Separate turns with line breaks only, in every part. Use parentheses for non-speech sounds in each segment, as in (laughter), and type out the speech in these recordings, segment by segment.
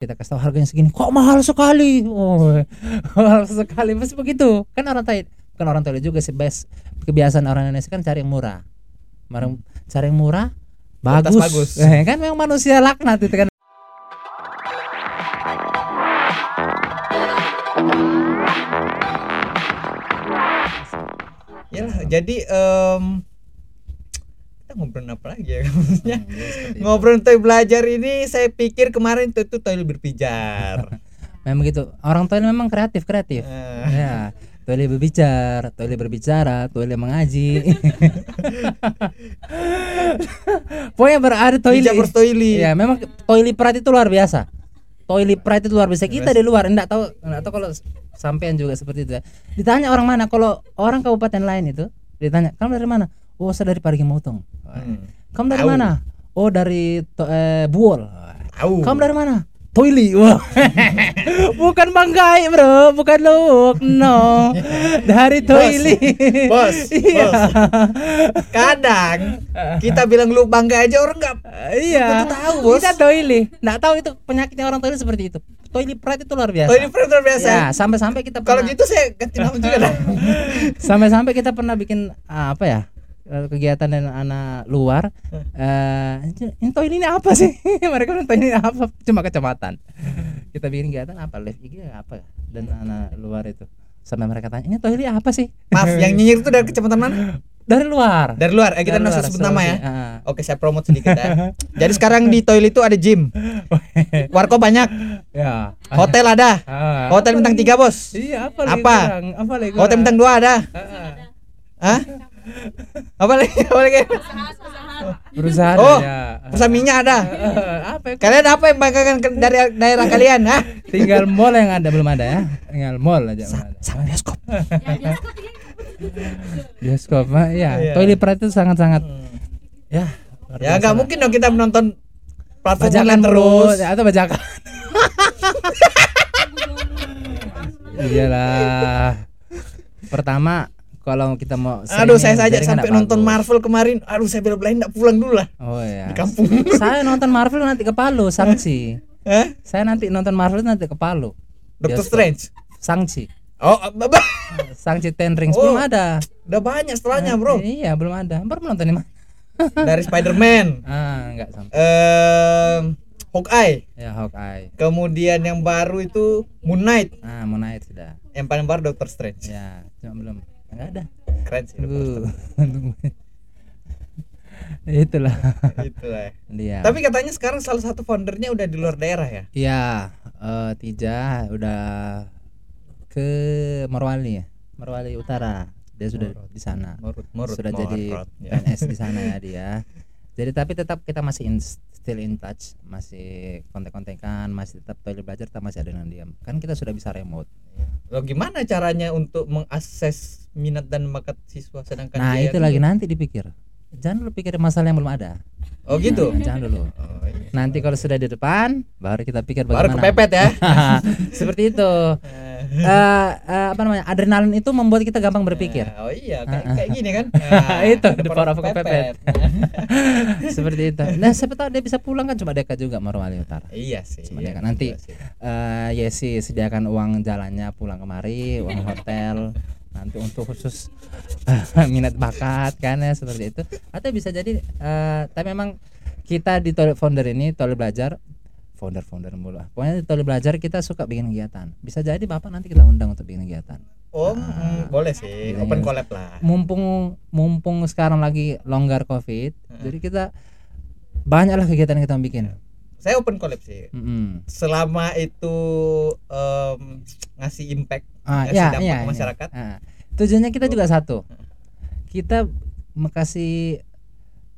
kita kasih tahu harganya segini kok mahal sekali oh, (laughs) mahal sekali pasti begitu kan orang Thailand bukan orang Thailand juga sih bias- kebiasaan orang Indonesia kan cari yang murah Mar- cari yang murah
Kualitas
bagus,
bagus.
(laughs) Eh, kan memang manusia laknat itu kan
Yalah, Ya jadi em, kita ngobrolin apa lagi ya (laughs) maksudnya?
Jadi Hmm, iya, seperti itu.
Ngobrolin toy belajar ini saya pikir kemarin itu tuh toy
(laughs)
berpijar.
memang gitu orang Thailand memang kreatif kreatif
Eh,
ya Toilet berbicara, toilet berbicara, toilet
(laughs)
mengaji. Pokoknya berada toilet.
Bijak bertoili.
Iya, memang toilet pride itu luar biasa. Toilet pride itu luar biasa. Kita di luar enggak tahu enggak tahu kalau sampean juga seperti itu ya. Ditanya orang mana kalau orang kabupaten lain itu ditanya, "Kamu dari mana?" "Oh, saya dari Parigimotong."
Hmm.
"Kamu dari
Tahu.
mana?" "Oh, dari to- eh, Buol."
Tahu.
"Kamu dari mana?" Toili, wah, (laughs) bukan bangkai bro, bukan look, no,
(laughs)
dari toili,
Bos,
(laughs) Iya.
bos. Kadang kita bilang lu bangga aja orang
(laughs)
nggak
iya,
Belum tentu tahu, Bos.
kita toili, nggak tahu itu penyakitnya orang toili seperti itu, toili pride itu luar biasa.
toy predator biasa.
Ya, sampai-sampai kita
Oh, iya. Kalau
pernah-
gitu saya ganti nama juga
(laughs)
dah.
sampai-sampai kita pernah bikin ah, apa ya? eh, kegiatan dan anak luar eh ini toil ini apa sih (laughs) mereka bilang toil ini apa cuma kecamatan kita bikin kegiatan apa live IG apa ya? dan anak luar itu sampai mereka tanya ini toil ini apa sih
Maaf, yang nyinyir itu dari kecamatan mana?
dari luar
Dari luar. Eh, kita
Dari
nggak usah
luar,
sebut nama ya.
Sulawesi. Ah.
(laughs) Oke, saya promote sedikit
(laughs)
ya. Jadi sekarang di toilet itu ada gym. Warko banyak,
ya
hotel ada.
Ah.
Hotel bintang 3, Bos.
iya apa lagi
Apa?
kurang? apa lagi
Hotel
kurang?
bintang 2 ada.
Ah.
Hah? Apa lagi? Apa lagi?
berusaha
Oh,
ya.
Pusat minyak ada.
Ah, apa ya?
Kalian apa yang banggakan ke- dari daerah kalian, hah?
tinggal mall yang ada belum ada ya tinggal mall aja belum ada.
Sama bioskop.
bioskop mah
Iya. Hmm.
ya toilet pride itu sangat-sangat ya
Ya nggak mungkin dong kita menonton platform
bajakan
online
terus Ya,
terus.
atau
(laughs)
bajakan iyalah pertama kalau kita mau
Aduh, saya
streaming,
saja
Ya, jaringan
sampai
nggak
nonton
bagus.
Marvel kemarin. Aduh, saya bela-belain nggak pulang dulu lah
oh ya
di kampung.
saya nonton Marvel nanti ke Palu sanksi
Hah?
saya nanti nonton Marvel nanti ke Palu
Doctor
Bioskop.
Strange.
sanksi
Oh, (laughs) apa?
sanksi Ten Rings
Oh.
belum ada
Udah banyak setelahnya, Bro.
iya belum ada baru menonton di mana
Dari Spider-Man,
(laughs) ah nggak sampai
eh Hawkeye,
ya Hawkeye
kemudian yang baru itu Moon Knight,
ah Moon Knight sudah
yang paling baru Doctor Strange.
ya cuma belum nggak ada
Keren sih. Doctor
Tunggu. Tunggu. (laughs) Itulah Iya.
Strange. Gitu lah.
dia.
Tapi katanya sekarang salah satu foundernya udah di luar daerah ya.
ya eh Tija udah ke Morwali ya. Morwali Utara. Dia sudah di sana.
Murut, murut,
sudah jadi
murut, ya.
PNS di
(laughs)
sana ya dia. Jadi tapi tetap kita masih in, still in touch, masih kontek-kontekan, masih tetap toilet belajar, tetap masih ada dengan dia. Kan kita sudah bisa remote.
Loh gimana caranya untuk mengakses minat dan bakat siswa sedangkan
Nah
Kan dia
itu lagi nanti dipikir. Jangan dulu pikir masalah yang belum ada.
Oh gitu.
Nah, jangan dulu.
Oh, iya.
Nanti kalau sudah di depan, baru kita pikir
Baru
bagaimana.
kepepet ya.
(laughs) seperti itu
Eh,
Eh eh, apa namanya adrenalin itu membuat kita gampang
(laughs)
berpikir Ah,
Oh iya, kayak, kayak gini kan. Nah,
(laughs) Itu,
ada
the power of kepepet. seperti itu nah siapa tahu dia bisa pulang kan cuma dekat juga Morowali Utara
(laughs) iya sih.
Cuma
iya,
dia kan nanti.
iya sih.
Eh Yesi sediakan uang jalannya pulang kemari uang hotel nanti untuk khusus eh, minat bakat kan ya seperti itu atau bisa jadi eh tapi memang kita di toilet founder ini toilet belajar founder founder mulu ah. pokoknya di toilet belajar kita suka bikin kegiatan bisa jadi bapak nanti kita undang untuk bikin kegiatan
Oh, mm, boleh
Ah,
sih.
Iya,
Open
iya.
collab lah.
mumpung mumpung sekarang lagi longgar covid jadi kita banyaklah kegiatan yang kita bikin
Saya open collab sih.
Mm-mm.
Selama itu em, ngasih impact,
ah
ngasih
ya
dampak
ya
ke masyarakat. Hmm.
Ah. tujuannya kita juga satu kita makasih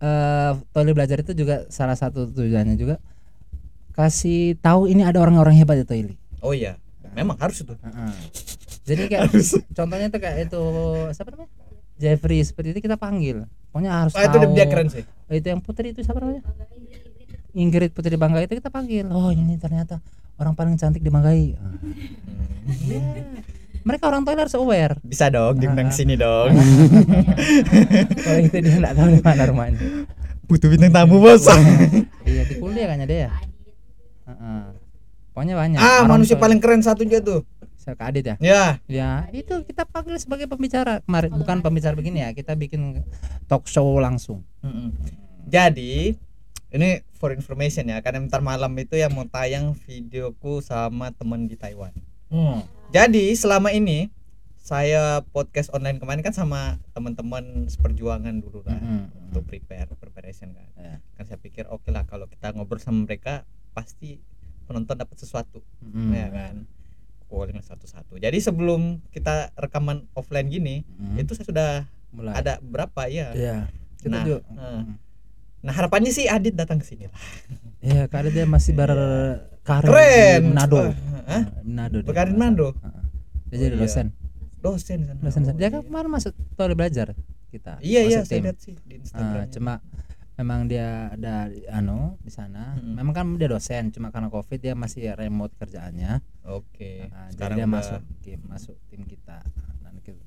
eh toilet belajar itu juga salah satu tujuannya juga kasih tahu ini ada orang-orang hebat di toilet
Oh iya. Memang harus itu.
Heeh. Jadi
(laughs)
kayak contohnya itu kayak itu siapa namanya? Jeffrey seperti itu kita panggil. Pokoknya harus
Wah, Ah, itu
tahu. Ah,
dia keren sih.
Itu yang putri itu siapa namanya? Ingrid Putri Bangga itu kita panggil. Oh, ini ternyata orang paling cantik di Banggai.
Hmm.
Ah. Ya. Mereka orang Thailand harus aware.
Bisa
Ah,
dong diundang ke sini dong.
Kalau itu dia nggak tahu di mana rumahnya.
Butuh bintang tamu, Bos.
Iya di kuliah kayaknya dia. ya? Heeh. pokoknya banyak
(laughs) ah
Orang
manusia
tuh-
paling keren satunya tuh
Kak Adit ya
ya
ya itu kita panggil sebagai pembicara kemarin bukan pembicara begini ya kita bikin talk show langsung
Mm-mm. jadi ini for information ya karena ntar malam itu yang mau tayang videoku sama temen di Taiwan
Hmm.
jadi selama ini saya podcast online kemarin kan sama teman-teman seperjuangan dulu kan
Mm-mm.
untuk prepare preparation kan
Iya.
kan saya pikir oke lah kalau kita ngobrol sama mereka pasti penonton dapat sesuatu
Mm-mm.
ya kan calling satu-satu jadi sebelum kita rekaman offline gini
Mm-mm.
itu saya sudah
mulai
ada berapa
ya
ya
Hmm. Nah. kita
Nah,
juga
eh. nah harapannya sih Adit datang ke sini lah
ya Kak Adit dia masih berkarir di
Iya. keren
Manado
Eh, hah?
Manado dia.
berkarir Manado
Heeh. dia jadi
Oh, iya.
dosen
dosen di sana.
dosen
Oh,
dia
iya.
kan kemarin masuk toilet belajar kita
iya iya
masuk
saya
tim.
lihat sih di
Ah,
Instagram
cuma memang dia ada anu di sana
Mm-mm.
memang kan dia dosen cuma karena covid dia masih remote kerjaannya
oke
Nah, jadi
sekarang
dia
udah-
masuk tim masuk tim kita Dan kita,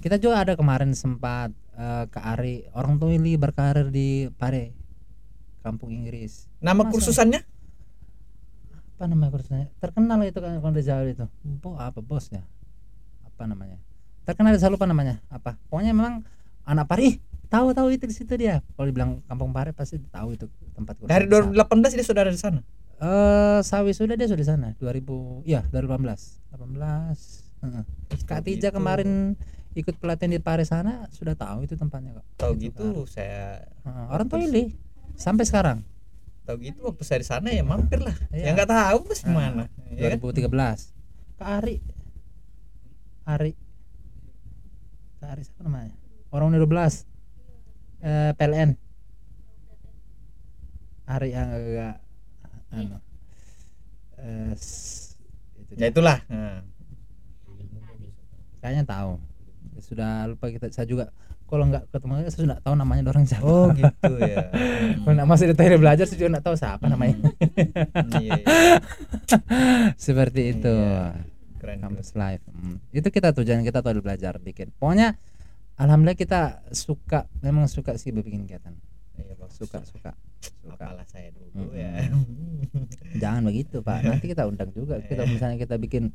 kita juga ada kemarin sempat eh, ke Ari orang Tuli berkarir di Pare kampung Inggris
nama
Masuk.
kursusannya
apa namanya kursusnya terkenal itu kan kalau di Jawa itu bo apa bosnya apa namanya terkenal saya lupa namanya apa pokoknya memang anak Pare ih, tahu tahu itu di situ dia kalau dibilang kampung Pare pasti tahu itu tempat kursus
dari
di sana.
2018 dia sudah ada di sana
Eh, sawi sudah dia sudah di sana 2000 ya 2018 18 Heeh.
Ih,
Kak
tahu
Tija
gitu.
kemarin ikut pelatihan di Paris sana sudah tahu itu tempatnya kok.
tahu
Itu kan.
gitu saya
Heeh, orang tuh pilih sampai sekarang
tahu gitu waktu saya di sana ya mampir lah
Iya.
ya nggak tahu mas gimana ya kan
2013. Iya Kak Ari. Ari. Kak Ari siapa namanya? Orang Uni 12. Eh, PLN. Ari ah, yang agak anu. Eh, s- itu dia.
ya itulah nah.
kayaknya tahu. Ya Sudah lupa kita saya juga kalau nggak ketemu saya sudah tahu namanya orang siapa.
oh gitu
(laughs)
ya
Kalau nggak masuk di toilet belajar saya juga nggak tahu siapa namanya.
Hmm, iya, iya.
Seperti itu.
Iya. keren keren.
Kampus live. Hmm. Itu kita tujuan kita toilet belajar bikin. Pokoknya alhamdulillah kita suka memang suka sih bikin kegiatan.
Iya, bagus.
Suka suka. Suka.
apalah saya dulu
Mm-mm.
ya
Jangan begitu,
(laughs)
Pak. Nanti kita undang juga. Kita
Iya.
misalnya kita bikin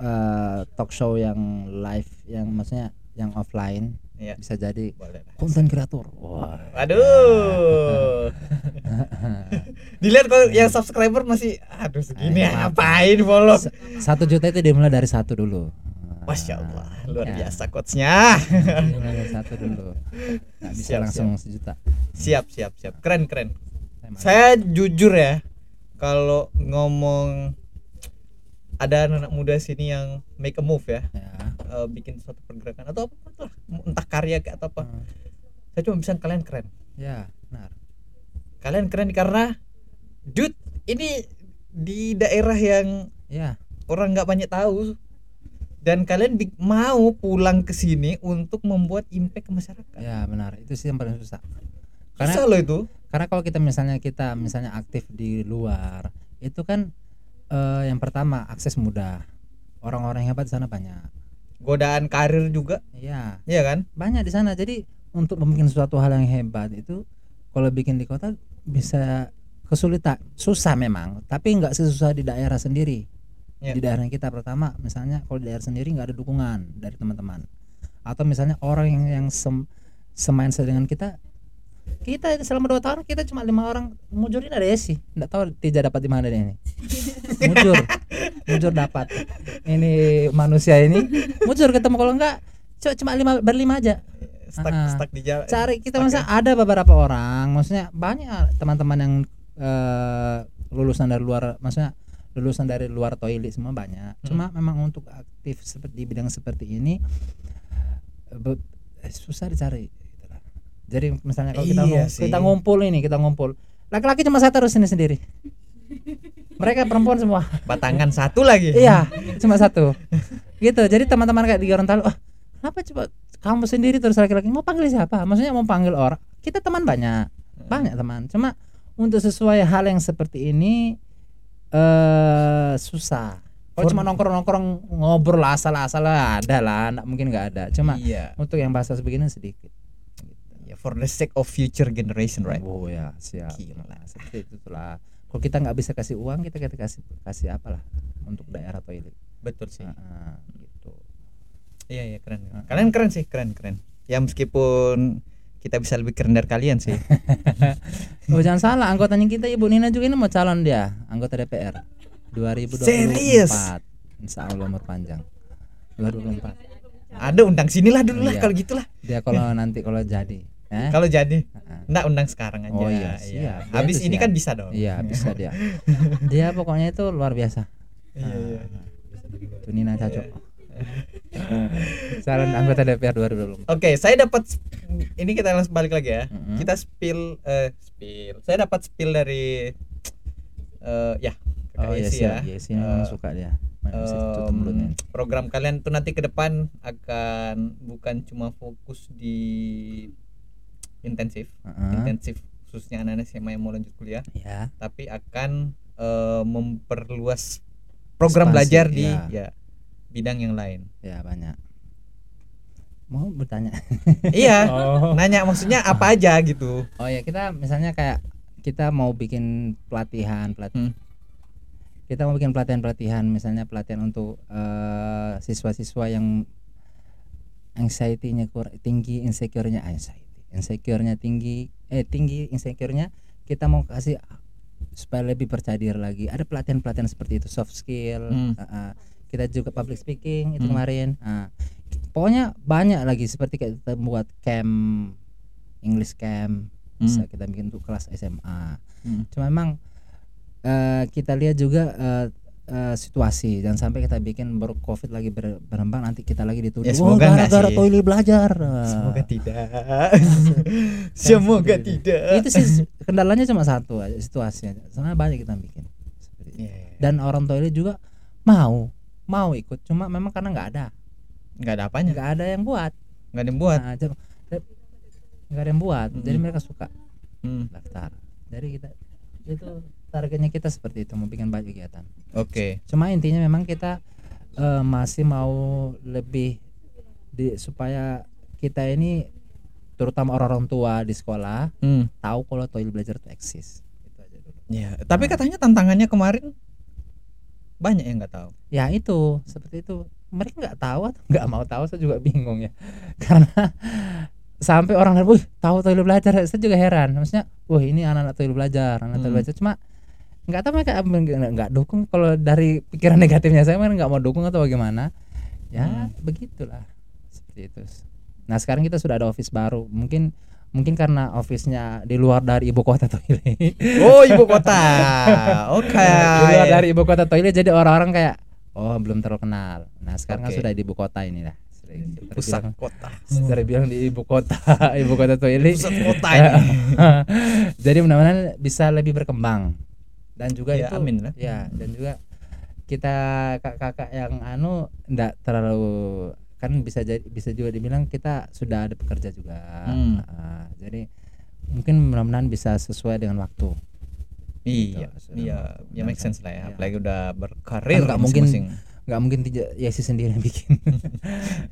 eh, talk show yang live yang maksudnya yang offline
Iya.
bisa jadi
(laughs) boleh lah
konten kreator. Wah.
(laughs) aduh dilihat kalau yang subscriber masih Hmm. aduh segini
Ayo, maaf.
ngapain follow
S- Satu juta itu dimulai dari satu dulu.
Masya Allah, luar
Ya.
biasa coachnya.
Dimulai dari satu dulu. Nggak bisa
Siap,
langsung sejuta.
siap, siap, siap. Keren, keren.
Saya malu.
Saya jujur ya, kalau ngomong ada anak muda sini yang make a move ya,
Ya.
eh, bikin suatu pergerakan atau apa lah, entah karya kayak atau apa.
Hmm.
Saya cuma bisa kalian keren.
Ya, benar.
Kalian keren karena dude ini di daerah yang
Ya,
orang nggak banyak tahu dan kalian bi- mau pulang ke sini untuk membuat impact ke masyarakat.
ya benar. Itu sih yang paling susah. Karena
Susah loh itu.
karena kalau kita misalnya kita misalnya aktif di luar, itu kan eh, yang pertama akses mudah. Orang-orang yang hebat di sana banyak.
Godaan karir juga,
Iya,
ya kan?
banyak di sana. Jadi untuk membuat suatu hal yang hebat itu kalau bikin di kota bisa kesulitan, susah memang, tapi nggak sesusah di daerah sendiri.
Ya.
Di daerah kita pertama, misalnya kalau di daerah sendiri nggak ada dukungan dari teman-teman, atau misalnya orang yang yang sem semindset dengan kita, kita ini selama dua tahun kita cuma lima orang mujurin ada sih, nggak tahu tidak dapat di mana dia ini. mujur, mujur dapat. Ini manusia
(laughs)
ini, mujur ketemu kalau enggak cu- cuma lima berlima aja
Stuck,
Ah.
stuck di jalan.
cari kita
Oke.
masa ada beberapa orang maksudnya banyak teman-teman yang eh, lulusan dari luar maksudnya lulusan dari luar toilet semua banyak
Hmm.
cuma memang untuk aktif seperti di bidang seperti ini eh, be- eh, susah dicari gitu lah. jadi misalnya kalau kita,
Iya
ngum-
sih.
kita ngumpul ini kita ngumpul laki-laki cuma satu terus ini sendiri mereka perempuan semua
Batangan satu lagi.
iya (laughs) cuma satu gitu jadi teman-teman kayak di Gorontalo ah kenapa coba kamu sendiri terus laki-laki mau panggil siapa maksudnya mau panggil orang kita teman banyak
Hmm.
banyak teman cuma untuk sesuai hal yang seperti ini eh susah kalau
For-
cuma nongkrong-nongkrong ngobrol asal-asal ada lah nggak mungkin nggak ada cuma
Iya.
untuk yang bahasa sebegini sedikit
Ya, For the sake of future generation, right?
oh ya siap
Gila.
Nah, seperti itu lah kalau kita nggak bisa kasih uang kita kita kasih kasih apalah untuk daerah toilet
betul sih
Heeh, gitu
iya iya keren kalian keren sih keren keren ya meskipun kita bisa lebih keren dari kalian
(laughs)
sih
oh jangan salah anggotanya kita ibu Nina juga ini mau calon dia anggota DPR 2024
Serius?
Insya Allah umur panjang 2024
ada undang sinilah dulu
Iya.
lah kalau gitulah
dia kalau nanti kalau jadi eh?
kalau jadi
Heeh.
Nggak undang sekarang aja.
Oh iya, siap. Dia
Habis
tuh
ini
siap.
kan bisa dong.
iya bisa dia dia pokoknya itu luar biasa Ah.
Iya, iya.
itu Nina Caco calon anggota DPR 2024
Oke, saya dapat ini kita langsung balik lagi ya.
Mhm.
Kita spill eh spill. Saya dapat spill dari eh ya,
oh
Um,
iya
KKIC
sih ya sih memang
Eh,
suka dia Memang bisa
Em,
tutup mulutnya
program kalian tuh nanti ke depan akan bukan cuma fokus di intensif,
Heeh.
intensif khususnya anak-anak SMA yang mau lanjut kuliah,
ya
tapi akan eh, memperluas program
Ekspansi,
belajar di
iya.
ya bidang yang lain. (laughs)
ya banyak mau bertanya
iya,
oh
nanya maksudnya apa aja gitu
oh ya kita misalnya kayak kita mau bikin pelatihan pelatihan
Hmm.
kita mau bikin pelatihan pelatihan misalnya pelatihan untuk eh, siswa-siswa yang anxiety-nya kur- tinggi insecure-nya anxiety insecure-nya tinggi eh tinggi insecure-nya kita mau kasih supaya lebih percaya diri lagi ada pelatihan pelatihan seperti itu soft skill
Hmm.
eh, eh. kita juga public speaking itu
Hmm.
kemarin Ah. pokoknya banyak lagi seperti kayak kita buat camp English camp bisa kita bikin untuk kelas SMA.
Hmm.
Cuma emang eh, kita lihat juga eh, eh, situasi jangan sampai kita bikin baru covid lagi ber- berkembang nanti kita lagi dituduh
Ya,
"Wah,
semoga nggak
gara-gara
sih."
toilet belajar.
semoga tidak (laughs) semoga tidak
(laughs) Itu sih kendalanya cuma satu eh, aja, situasinya. Soalnya banyak kita bikin. Seperti itu.
Iya, iya.
Dan orang toilet juga mau mau ikut cuma memang karena nggak ada
nggak ada apanya
nggak ada yang buat
nggak ada yang buat
Nah, jam- nggak ada yang buat jadi
Mm.
mereka suka
Hmm,
daftar dari kita itu targetnya kita seperti itu mau bikin banyak kegiatan
oke
cuma intinya memang kita eh, masih mau lebih di supaya kita ini terutama orang-orang tua di sekolah
Hmm,
tahu kalau toilet belajar itu eksis itu aja dulu
ya tapi katanya tantangannya kemarin banyak yang nggak tahu
ya itu seperti itu mereka nggak tahu atau nggak mau tahu saya juga bingung ya (laughs) karena sampai orang lain "Wih, tahu toilet belajar saya juga heran maksudnya wah ini anak-anak toilet belajar anak toilet
Hmm.
belajar cuma nggak tahu mereka nggak nggak dukung kalau dari pikiran (laughs) negatifnya saya mereka nggak mau dukung atau bagaimana ya begitulah seperti itu nah sekarang kita sudah ada office baru mungkin mungkin karena office-nya di luar dari ibu kota (laughs) toilet
(laughs) oh ibu kota (laughs) oke
di luar
iya.
dari ibu kota toilet jadi orang-orang kayak oh belum terkenal nah sekarang kan
Oke.
sudah di ibu kota ini lah Sudah di-
pusat
terbilang-
kota
sudah bilang di ibu kota (laughs) ibu kota toilet
pusat kota (laughs) ini
(laughs) jadi mudah-mudahan bisa lebih berkembang dan juga
Ya,
itu
amin lah.
ya dan juga kita kakak-kakak yang anu enggak terlalu kan bisa jadi bisa juga dibilang kita sudah ada pekerja juga
Hmm.
Ah, jadi mungkin mudah-mudahan bisa sesuai dengan waktu
iya
Betul,
iya
betul.
ya make sense lah ya
Iya.
apalagi udah berkarir
Kan nggak mungkin-
masing-masing.
nggak mungkin tidak Yesi sendiri yang bikin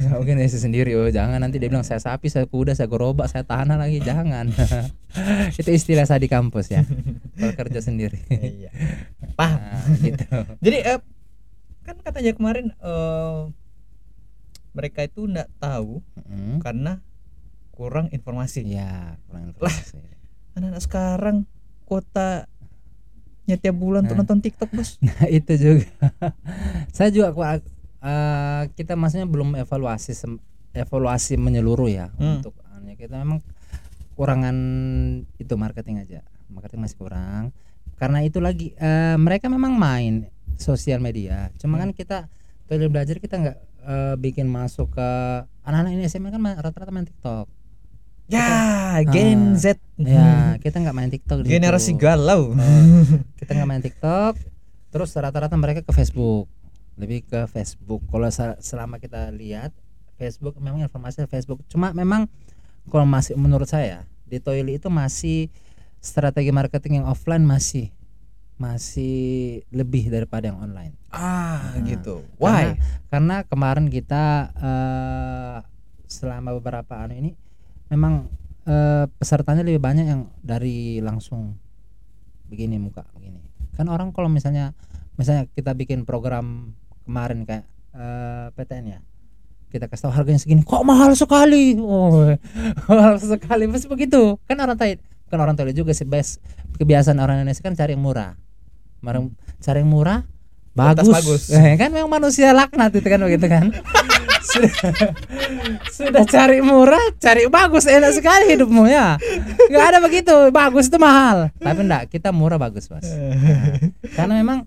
nggak mungkin Yesi sendiri oh jangan nanti dia bilang saya sapi saya kuda saya gerobak saya tanah lagi jangan itu istilah saya di kampus ya kalau kerja sendiri
iya (laughs) paham
Nah, gitu
Jadi eh, kan katanya kemarin eh, mereka itu nggak tahu
Mm.
karena kurang informasi.
ya kurang informasi
Anak-anak sekarang kuotanya tiap bulan tuh
Nah.
nonton TikTok (laughs) bos.
nah (laughs) itu juga saya juga ku- eh, kita maksudnya belum evaluasi sem- evaluasi menyeluruh ya
Hmm.
untuk anunya. kita memang kurangan itu marketing aja marketing masih kurang karena itu lagi eh, mereka memang main sosial media cuma
Hmm.
kan kita toilet belajar kita nggak eh, bikin masuk ke anak-anak ini SMA kan ma- rata-rata main TikTok
Ya,
Ah.
Gen gitu. Z.
ya kita nggak main TikTok di
Hmm. Generasi
situ.
galau. (laughs)
Eh, kita nggak main TikTok terus rata-rata mereka ke Facebook lebih ke Facebook kalau sa- selama kita lihat Facebook memang informasi Facebook cuma memang kalau masih menurut saya di toilet itu masih strategi marketing yang offline masih masih lebih daripada yang online
ah,
Nah.
gitu. Why?
karena kemarin kita eh, selama beberapa anu ini memang eh, pesertanya lebih banyak yang dari langsung begini muka begini kan orang kalau misalnya misalnya kita bikin program kemarin kayak eh, PTN ya kita kasih tahu harganya segini kok mahal sekali oh, (laughs) mahal sekali pasti begitu kan orang Thai kan orang Thailand juga sih best kebiasaan orang Indonesia kan cari yang murah Marang- cari yang murah
Kualitas
bagus, (laughs)
bagus.
Eh, kan memang manusia laknat itu kan begitu kan sudah, sudah cari murah cari bagus enak sekali hidupmu ya nggak ada begitu bagus itu mahal tapi enggak kita murah bagus mas karena memang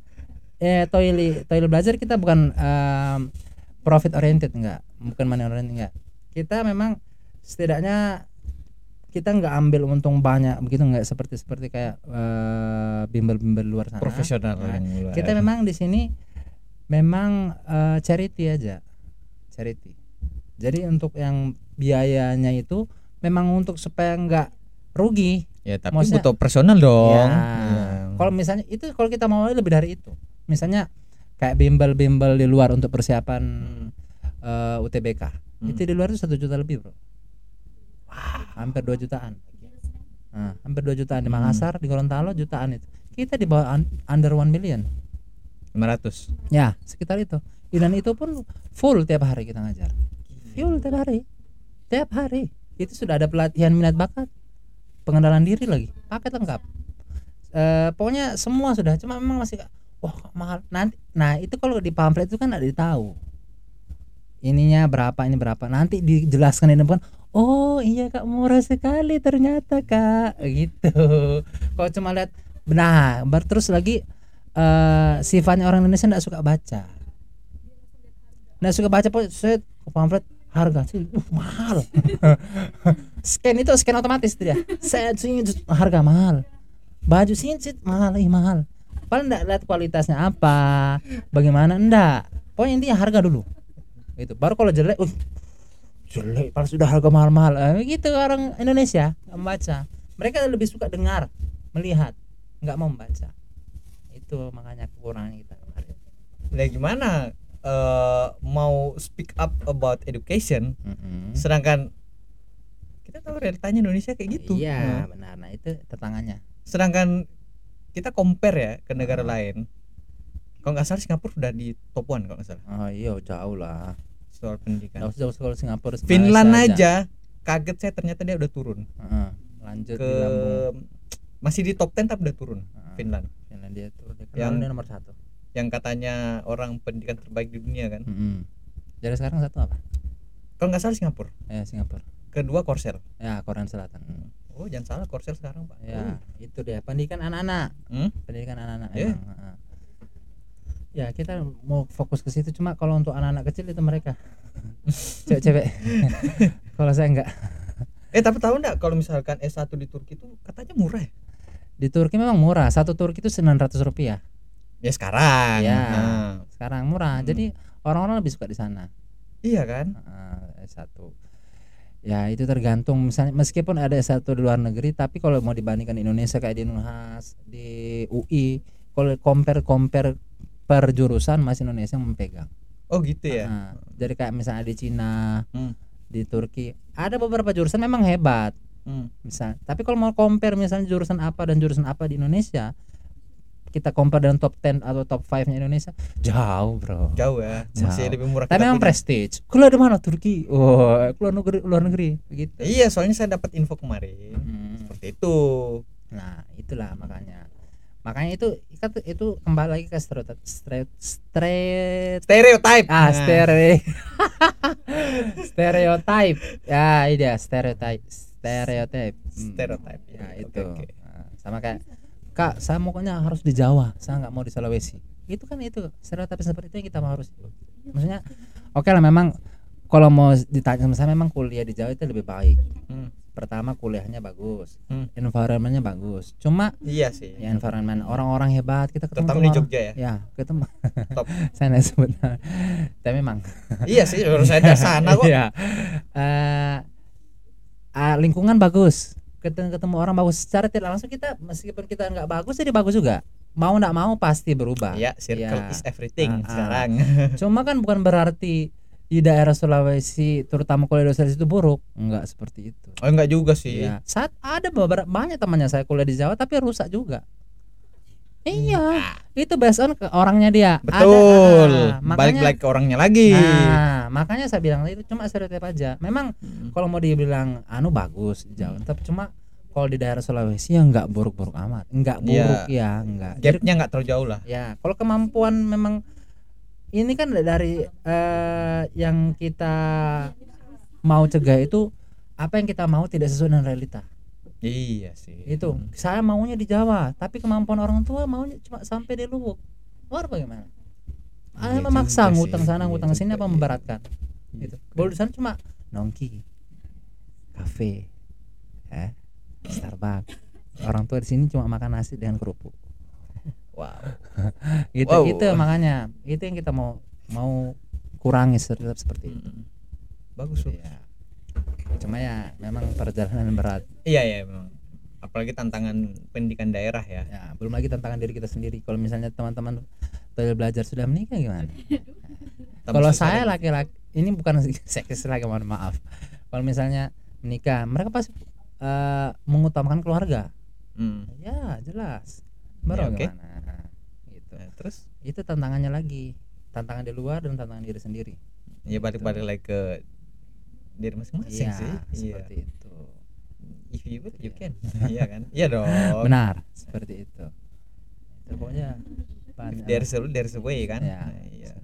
eh toilet toilet belajar kita bukan em, profit oriented enggak bukan money oriented enggak kita memang setidaknya kita nggak ambil untung banyak begitu nggak seperti seperti kayak eh, bimbel-bimbel luar
ah,
sana
profesional
Nah,
yang luar.
kita memang di sini memang eh, charity aja charity jadi untuk yang biayanya itu memang untuk supaya nggak rugi
ya tapi
maksudnya-
butuh personal dong Iya.
Ya. Kalau misalnya itu kalau kita mau lebih dari itu. Misalnya kayak bimbel-bimbel di luar untuk persiapan eh, UTBK.
Hmm.
Itu di luar itu satu juta lebih, Bro. Hampir 2 jutaan. Nah, hampir 2 jutaan di
Hmm.
Makassar, di Gorontalo jutaan itu. Kita di bawah un- under 1 million.
lima ratus
Ya, sekitar itu. Dan itu pun full tiap hari kita ngajar. Full tiap hari. Tiap hari. Itu sudah ada pelatihan minat bakat, pengenalan diri lagi, paket lengkap. Eh, pokoknya semua sudah, cuma memang masih wah kok mahal. Nanti nah itu kalau di pamflet itu kan ada tahu. Ininya berapa, ini berapa. Nanti dijelaskan di depan, "Oh, iya Kak, murah sekali ternyata, Kak." Gitu. Kalau cuma lihat nah, ber- terus lagi eh sifatnya orang Indonesia tidak suka baca nggak suka baca pokoknya set ke pamflet harga sih uh, mahal (laughs) scan itu scan otomatis tuh dia set sini set, harga mahal baju sini set, mahal ih mahal paling enggak lihat kualitasnya apa bagaimana enggak pokoknya intinya harga dulu itu baru kalau jelek uh, jelek pas sudah harga mahal-mahal eh, gitu orang Indonesia nggak membaca mereka lebih suka dengar melihat nggak mau membaca itu makanya kekurangan kita kemarin
Nah, gimana eh, mau speak up about education
Hmm.
sedangkan kita tahu realitanya Indonesia kayak gitu.
iya
Nah,
benar nah itu tetangannya
sedangkan kita compare ya ke negara
Ah.
lain. Kalau nggak salah Singapura udah di top one kalau nggak salah
oh iya jauh lah
soal
nggak
pendidikan.
usah jauh kalau Singapura Malaysia
Finland aja kaget saya ternyata dia udah turun
Heeh, lanjut
ke
di lambung
masih di top 10 tapi udah turun
Heeh,
Finland
Finlandia tuh dia yang
Yang-
dia nomor satu
yang katanya orang pendidikan terbaik di dunia kan.
Mm-mm. jadi sekarang satu apa
Kalau nggak salah Singapura,
ya Singapura
kedua Korsel.
ya Korea Selatan Mm.
Oh jangan salah Korsel sekarang pak.
ya itu dia pendidikan anak-anak
Hmm?
pendidikan anak-anak
Iya.
emang, heeh. ya kita mau fokus ke situ cuma kalau untuk anak-anak kecil itu
(laughs)
mereka cewek-cewek (laughs) kalau saya enggak
Eh tapi tahu nggak kalau misalkan S1 di Turki itu katanya murah ya?
di Turki memang murah satu Turki itu 900 rupiah
Ya sekarang.
Iya.
Nah,
sekarang murah
Hmm.
jadi orang-orang lebih suka di sana
iya kan?
Eh, S1 ya itu tergantung misalnya meskipun ada S1 di luar negeri tapi kalau mau dibandingkan Indonesia kayak di Unhas di UI kalau compare compare per jurusan masih Indonesia yang memegang
Oh gitu ya.
Nah, jadi kayak misalnya di Cina
Hmm.
di Turki ada beberapa jurusan memang hebat
Hmm.
misal tapi kalau mau compare misalnya jurusan apa dan jurusan apa di Indonesia kita compare dengan top 10 atau top 5 nya Indonesia jauh bro
Jauh ya. Masih
Jauh.
lebih murah.
tapi
kita
memang
punya.
prestige keluar di mana Turki oh keluar negeri luar negeri begitu
Iya, soalnya saya dapat info kemarin
Mm.
seperti itu.
nah itulah makanya makanya itu itu- itu kembali lagi ke stereotip stere- stere-
Stereotype.
ah
Nah,
stere (laughs) stereotype ya ini dia stereotype stereotype Hmm.
Stereotype.
ya
Oke,
itu
oke.
Nah, sama kayak kak saya pokoknya harus di Jawa saya nggak mau di Sulawesi itu kan itu stereotip seperti itu yang kita mau harus maksudnya oke lah memang kalau mau ditanya sama saya memang kuliah di Jawa itu lebih baik
Hmm.
pertama kuliahnya bagus
Hmm.
environmentnya bagus cuma
Iya sih.
ya environment orang-orang hebat kita ketemu
Terutama
sama
di
orang-
Jogja ya.
ya ketemu
Top.
(laughs) saya nggak sebut nama. tapi memang
iya sih, baru saya dari
(laughs)
sana Nah, kok.
Iya. Eh, ah, lingkungan bagus. Ketemu, ketemu orang bagus secara tidak langsung kita meskipun kita nggak bagus jadi bagus juga. Mau nggak mau pasti berubah.
Iya, circle
Iya.
is
Ah, ah.
everything sekarang.
Cuma kan bukan berarti di daerah Sulawesi terutama kuliah di Sulawesi itu buruk. Nggak seperti itu.
Oh enggak juga sih.
Iya. Saat ada beberapa banyak temannya saya kuliah di Jawa tapi rusak juga. Iya, itu based on ke orangnya dia. Ada-
Betul.
ah,
Balik
makanya,
balik ke orangnya lagi.
Nah, makanya saya bilang itu cuma stereotip aja. Memang
Hmm.
kalau mau dibilang anu bagus jauh, tapi cuma kalau di daerah Sulawesi ya nggak buruk-buruk amat, nggak
Iya.
buruk ya, nggak. Jadi,
Gapnya nggak terlalu jauh lah.
ya, kalau kemampuan memang ini kan dari eh, yang kita mau cegah itu apa yang kita mau tidak sesuai dengan realita.
Iya sih.
Itu saya maunya di Jawa, tapi kemampuan orang tua maunya cuma sampai di Luwuk. Luar bagaimana? Ah,
Iya
memaksa
juga sih,
ngutang sana,
iya
ngutang sini apa
juga, iya.
memberatkan?
Iya.
gitu. Kalau di sana cuma nongki, kafe, eh, Starbucks. Orang tua di sini cuma makan nasi dengan kerupuk.
Wow.
Gitu
Wow.
gitu makanya itu yang kita mau mau kurangi stereotip seperti itu.
Mm. Bagus loh.
Ya. Cuma ya memang perjalanan berat.
Iya iya memang. Apalagi tantangan pendidikan daerah ya.
Ya, belum lagi tantangan diri kita sendiri. Kalau misalnya teman-teman sudah belajar sudah menikah gimana?
Tambah
Kalau
susah
saya
lagi.
laki-laki ini bukan (laughs) seksis lagi mohon maaf. Kalau misalnya menikah, mereka pasti eh, mengutamakan keluarga.
Hmm.
Ya jelas. Baru
Ya, oke.
gimana? Gitu.
Nah, terus
Itu tantangannya lagi, tantangan di luar dan tantangan diri sendiri.
ya balik-balik lagi ke diri masing-masing
Iya,
sih. Iya.
seperti itu.
If you would, you
Iya.
can. (laughs) iya kan? Iya dong.
Benar, seperti itu. Itu pokoknya banyak-
If there's a will, there's a way kan.
Ya.
Nah, iya.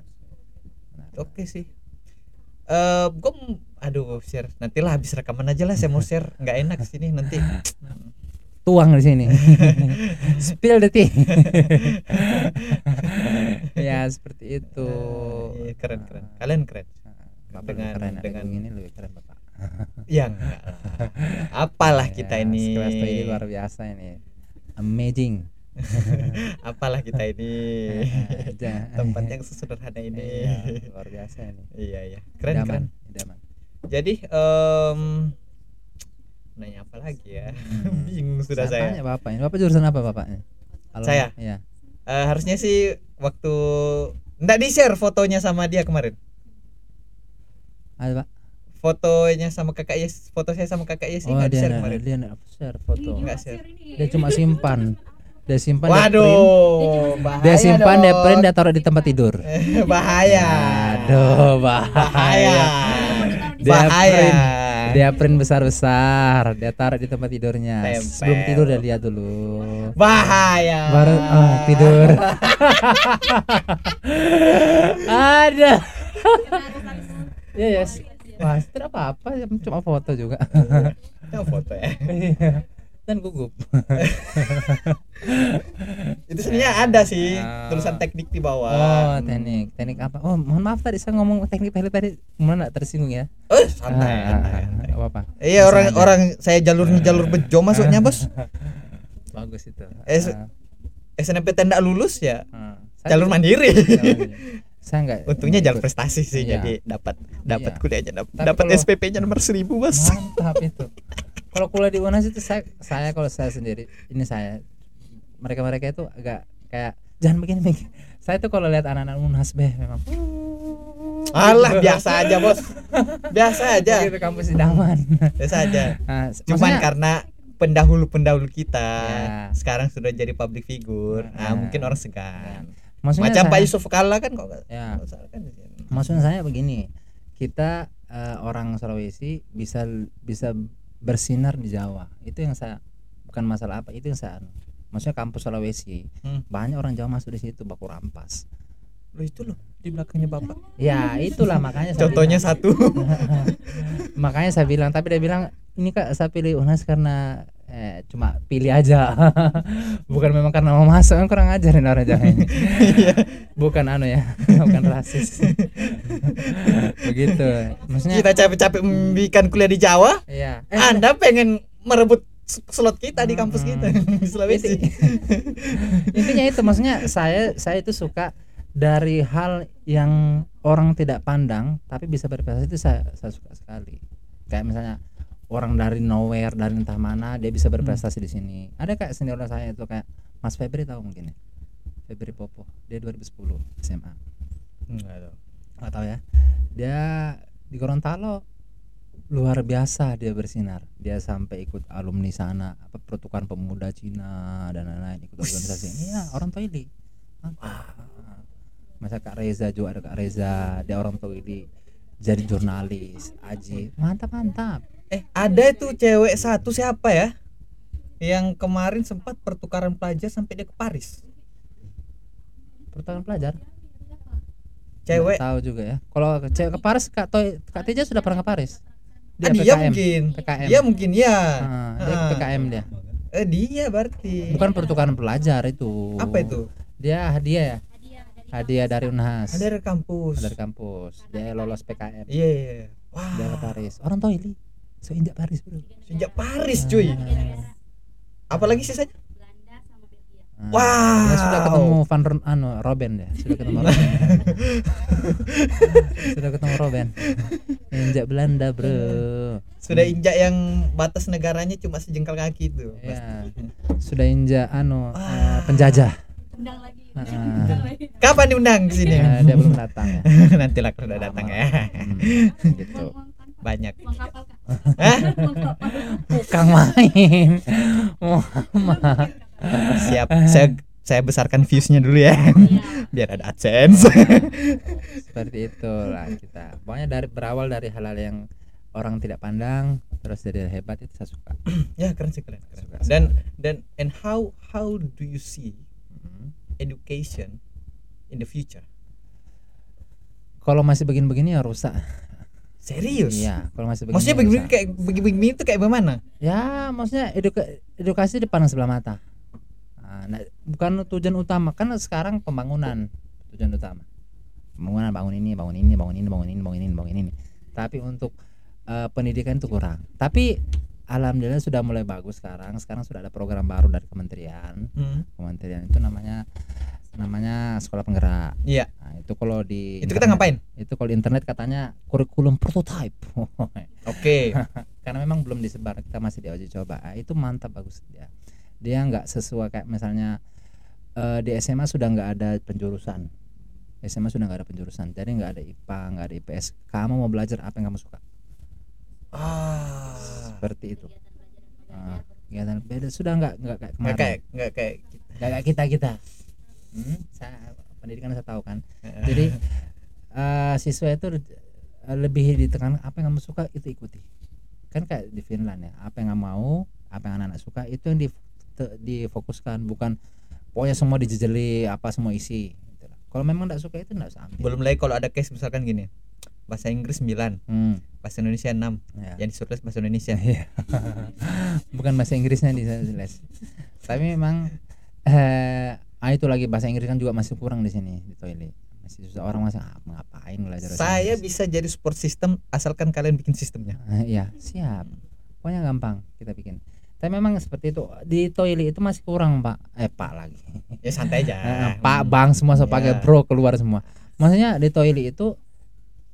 Benar.
Oke sih. Eh, gue aduh share nantilah habis rekaman aja lah saya mau share nggak enak sini
(laughs)
nanti
Tuang di
(laughs)
sini. Spill the tea. ya, seperti itu.
Iya, keren keren kalian keren
Bapak dengan,
Dengan-
Nah, keren,
dengan-
dengan ini lebih keren Bapak.
ya enggak lah. apalah kita
Ya,
ini
sekelas ini luar biasa ini. Amazing.
apalah
(laughs)
kita ini
Aja.
tempat
(laughs)
yang sesederhana ini
Iya, luar biasa ini.
iya iya keren
idaman,
keren
idaman.
jadi em nanya apa lagi ya
Hmm.
(laughs) bingung sudah saya
Tanya ya bapak ini. Bapak jurusan apa bapaknya? Kalau-
Saya?
Iya.
Eh, harusnya sih waktu nggak di share fotonya sama dia kemarin
Ada pak.
fotonya sama kakak Yes foto saya sama kakak Yes sih
oh
nggak di
dia
share
nggak
kemarin
dia nggak share foto.
Nggak share.
Dia cuma simpan. Dia simpan. dia print.
Waduh, bahaya
Dia simpan, dia
dong.
print, dia taruh di tempat tidur.
(laughs) bahaya.
Aduh,
bahaya.
bahaya. Dia
Bahaya.
print. Dia print besar-besar, dia taruh di tempat tidurnya.
Tempel.
Sebelum tidur dia lihat dulu.
Bahaya.
Baru ah, tidur. Ada. Ya ya. Wah, tidak apa-apa, cuma foto juga. Iya.
Tahu foto ya.
Dan gugup.
Itu sebenarnya ada sih
Ah.
tulisan teknik di bawah.
Oh, teknik. Teknik apa? Oh, mohon maaf tadi saya ngomong teknik pilot tadi. Kemudian enggak tersinggung ya?
Eh, santai.
Ah,
santai.
nggak apa-apa.
Iya
Bisa
orang
aja. Ah.
orang saya jalur jalur bejo masuknya bos.
Bagus itu.
Eh, se- SNMPTN tidak lulus ya
Ah, ah. Saya
jalur
juga-
mandiri.
Saya enggak.
(laughs) Untungnya jalur
ikut.
prestasi sih
Iya.
jadi dapat
Iya.
dapat kuliahnya dap-
Tapi
dapat
kalau-
SPP-nya nomor 1000 bos.
mantap itu kalau kuliah di UNAS itu saya saya kalau saya sendiri ini saya mereka mereka itu agak kayak jangan begini begini saya tuh kalau lihat anak-anak UNAS beh memang
Alah biasa aja bos. Biasa aja.
begitu kampus idaman
Biasa aja.
nah,
Cuman kan
maksudnya-
karena pendahulu-pendahulu kita
Ya.
sekarang sudah jadi public figure, nah,
Ya.
mungkin orang segan.
maksudnya
Macam
saya-
Pak Yusuf Kalla kan kok nggak-
ya
nggak salah kan?
maksudnya saya begini kita eh, orang Sulawesi bisa bisa bersinar di Jawa itu yang saya bukan masalah apa itu yang saya anu. maksudnya kampus Sulawesi
Hmm.
banyak orang Jawa masuk di situ baku rampas
Loh itu loh di belakangnya bapak.
Ya itulah makanya saya
Contohnya
bilang. (laughs)
satu.
makanya saya bilang tapi dia bilang ini kak saya pilih UNAS karena eh, cuma pilih aja (laughs) bukan memang karena mau masuk kan kurang ajarin orang Jawa ini (laughs)
Iya.
bukan anu ya (laughs) bukan rasis begitu maksudnya
kita capek-capek membikin kuliah di Jawa,
iya Eh,
Anda pengen merebut s- slot kita di kampus
Hmm. Gitu ya?
kita (laughs) di Sulawesi.
Inti- (laughs) intinya itu maksudnya saya saya itu suka dari hal yang orang tidak pandang tapi bisa berprestasi itu saya saya suka sekali kayak misalnya orang dari nowhere dari entah mana dia bisa berprestasi di sini ada kayak senior saya itu kayak Mas Febri tahu mungkin ya Febri Popo dia 2010 SMA nggak tahu ya dia di Gorontalo luar biasa dia bersinar dia sampai ikut alumni sana apa pertukan pemuda Cina dan lain-lain ikut
Wih.
organisasi ini ya orang Toili Mantap. masa Kak Reza juga ada Kak Reza dia orang Toili jadi jurnalis Aji mantap mantap
Eh, ada itu cewek satu siapa ya? Yang kemarin sempat pertukaran pelajar sampai dia ke Paris.
pertukaran pelajar
Cewek.
Nggak tahu juga ya kalau ke- cewek ke Paris Kak Toy Kak Teja sudah pernah ke Paris Iya.
Ah, dia mungkin.
PKM
Dia mungkin ya.
Ah, dia
Ah.
PKM dia
Eh, dia berarti.
bukan pertukaran pelajar itu
Apa itu?
dia hadiah ya hadiah dari Unhas
Ada dari kampus.
dari kampus dia lolos PKM
Iya, iya.
dia ke
Wah,
Paris orang Toili seinjak Paris bro
sejak Paris cuy.
Ah.
Apalagi sisanya?
Ah, Nah,
Wow. Iya.
dia sudah ketemu Van Ron, anu Robin ya sudah ketemu
(laughs)
Robin sudah ketemu Robin injak Belanda bro
Sudah injak yang batas negaranya cuma sejengkal kaki itu.
ya sudah injak anu eh,
(laughs)
penjajah
Undang lagi.
Ah,
Iya.
Undang lagi.
Kapan diundang ke sini?
eh, dia
(laughs)
belum datang ya
Nanti lah kalau udah datang ya. (laughs)
Hmm, gitu
Uang kan, Pak.
Banyak.
Uang kapal kak. (laughs)
Hah?
Uang kapal.
tukang main
(laughs)
Muhammad
Siap. Saya saya besarkan viewsnya dulu ya. (laughs)
Iya,
Biar ada AdSense. (laughs)
seperti itulah kita pokoknya dari berawal dari hal-hal yang orang tidak pandang terus jadi hebat itu saya suka
ya keren sih keren, keren.
Suka
Dan dan and how how do you see
Hmm.
education in the future?
kalau masih begini-begini ya rusak
Serius?
iya kalau masih begini
Maksudnya
ya
begini
rusak.
kayak begini itu kayak bagaimana?
ya maksudnya eduka- edukasi di pandang sebelah mata nah, nah, bukan tujuan utama kan sekarang pembangunan tujuan utama pembangunan bangun ini bangun ini bangun ini bangun ini bangun ini bangun ini tapi untuk eh, pendidikan itu kurang tapi alhamdulillah sudah mulai bagus sekarang sekarang sudah ada program baru dari kementerian
Hmm.
kementerian itu namanya namanya sekolah penggerak.
Iya.
Nah, itu kalau di
Itu kita ngapain?
Itu kalau di internet katanya kurikulum prototype.
Oke.
(laughs) Karena memang belum disebar, kita masih di uji coba. Ah, Itu mantap bagus dia. Dia nggak sesuai kayak misalnya eh, di SMA sudah nggak ada penjurusan. SMA sudah nggak ada penjurusan. Jadi nggak ada IPA, nggak ada IPS. Kamu mau belajar apa yang kamu suka?
Ah.
Seperti itu. Ah, kegiatan beda sudah nggak nggak kayak
Nggak
kemarin.
kayak nggak kayak kita.
Gak kita kita. Hmm, saya pendidikan saya tahu (laughs) kan. Jadi eh, siswa itu eh, lebih ditekan apa yang kamu suka itu ikuti. Kan kayak di Finland ya, apa yang kamu mau, apa yang anak-anak suka itu yang dif- te- difokuskan bukan pokoknya semua dijejeli apa semua isi. gitu lah. Kalau memang tidak suka itu tidak usah ambil.
Belum lagi kalau ada case misalkan gini. Bahasa Inggris 9,
Hmm,
bahasa Indonesia 6,
ya.
yang disuruh
Eh,
bahasa Indonesia.
Iya. (laughs) bukan bahasa Inggrisnya di sana jelas tapi memang eh ah itu lagi bahasa Inggris kan juga masih kurang di sini di toilet masih susah orang masih ah, ngapain belajar bahasa Inggris?"
Saya bisa jadi support system asalkan kalian bikin sistemnya.
Ah, (laughs) iya siap pokoknya gampang kita bikin tapi memang seperti itu di toilet itu masih kurang pak eh pak lagi (laughs)
Ya santai aja.
Eh, pak bang semua sebagai
Iya.
bro keluar semua maksudnya di toilet itu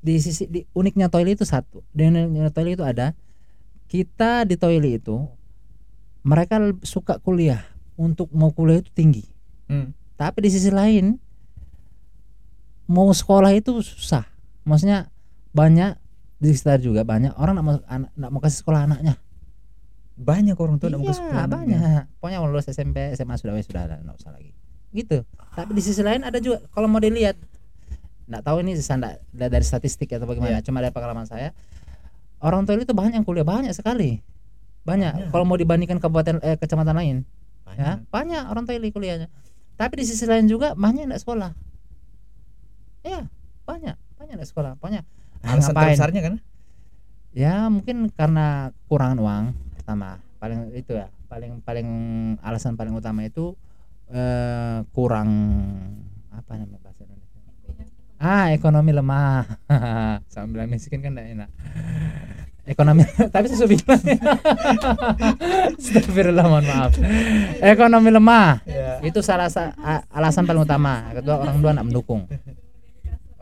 di sisi di uniknya toilet itu satu di uniknya toilet itu ada kita di toilet itu mereka l- suka kuliah untuk mau kuliah itu tinggi
Hmm.
tapi di sisi lain mau sekolah itu susah maksudnya banyak di sekitar juga banyak orang nggak mau anak- nggak mau kasih sekolah anaknya
Banyak orang
iya,
tua nggak mau ke sekolah.
banyak ya. pokoknya kalau lulus SMP SMA sudah wes, sudah nggak usah lagi gitu
Ah.
tapi di sisi lain ada juga kalau mau dilihat nggak tahu ini sanda da- dari statistik atau bagaimana
Iya.
cuma dari pengalaman saya orang tua itu banyak yang kuliah banyak sekali banyak
Banyak.
kalau mau dibandingkan kabupaten eh, kecamatan lain
Banyak.
ya banyak orang Thailand kuliahnya tapi di sisi lain juga banyak yang nggak sekolah ya banyak banyak nggak sekolah banyak Ah,
Alasan
ngapain?
terbesarnya kan?
ya mungkin karena kekurangan uang pertama paling itu ya paling paling alasan paling utama itu eh, kurang apa namanya bahasa Indonesia ah ekonomi lemah (laughs) sambil miskin kan tidak enak ekonomi (laughs) tapi saya sudah bilang (laughs) Astagfirullah mohon maaf ekonomi lemah
Ya.
Iya. itu salah sa- a- alasan paling utama Yang kedua orang tua nak mendukung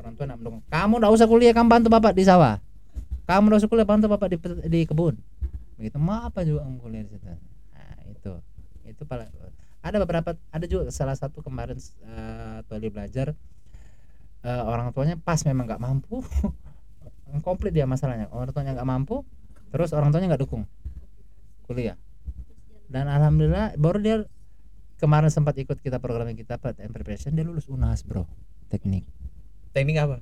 orang tua nak mendukung kamu tidak usah kuliah kamu bantu bapak di sawah kamu tidak usah kuliah bantu bapak di, pe- di kebun begitu mau apa juga kamu kuliah di situ nah, itu itu pala- ada beberapa ada juga salah satu kemarin eh Toli belajar (laughs) eh, orang tuanya pas memang nggak mampu komplit dia masalahnya orang tuanya nggak mampu terus orang tuanya nggak dukung kuliah dan alhamdulillah baru dia kemarin sempat ikut kita program kita Pat and Preparation dia lulus UNAS bro teknik
teknik apa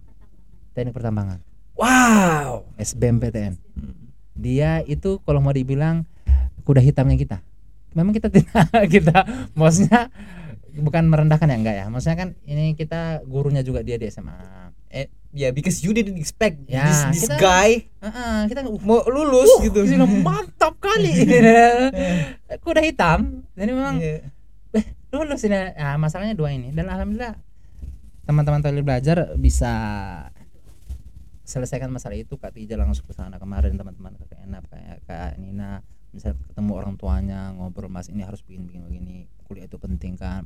teknik pertambangan
wow
SBMPTN dia itu kalau mau dibilang kuda hitamnya kita memang kita tidak (laughs) kita maksudnya bukan merendahkan ya enggak ya maksudnya kan ini kita gurunya juga dia di SMA
Eh, ya because you didn't expect
Ya,
this, this
kita-
guy
Heeh, kita uh,
mau lulus gitu (laughs)
gila, mantap kali kuda hitam jadi memang
Iya.
lulus ini nah, masalahnya dua ini dan alhamdulillah teman-teman toilet belajar bisa selesaikan masalah itu Kak Tija langsung ke sana kemarin teman-teman ke Enap kayak Kak Nina bisa ketemu orang tuanya ngobrol mas ini harus bikin begini begini kuliah itu penting kan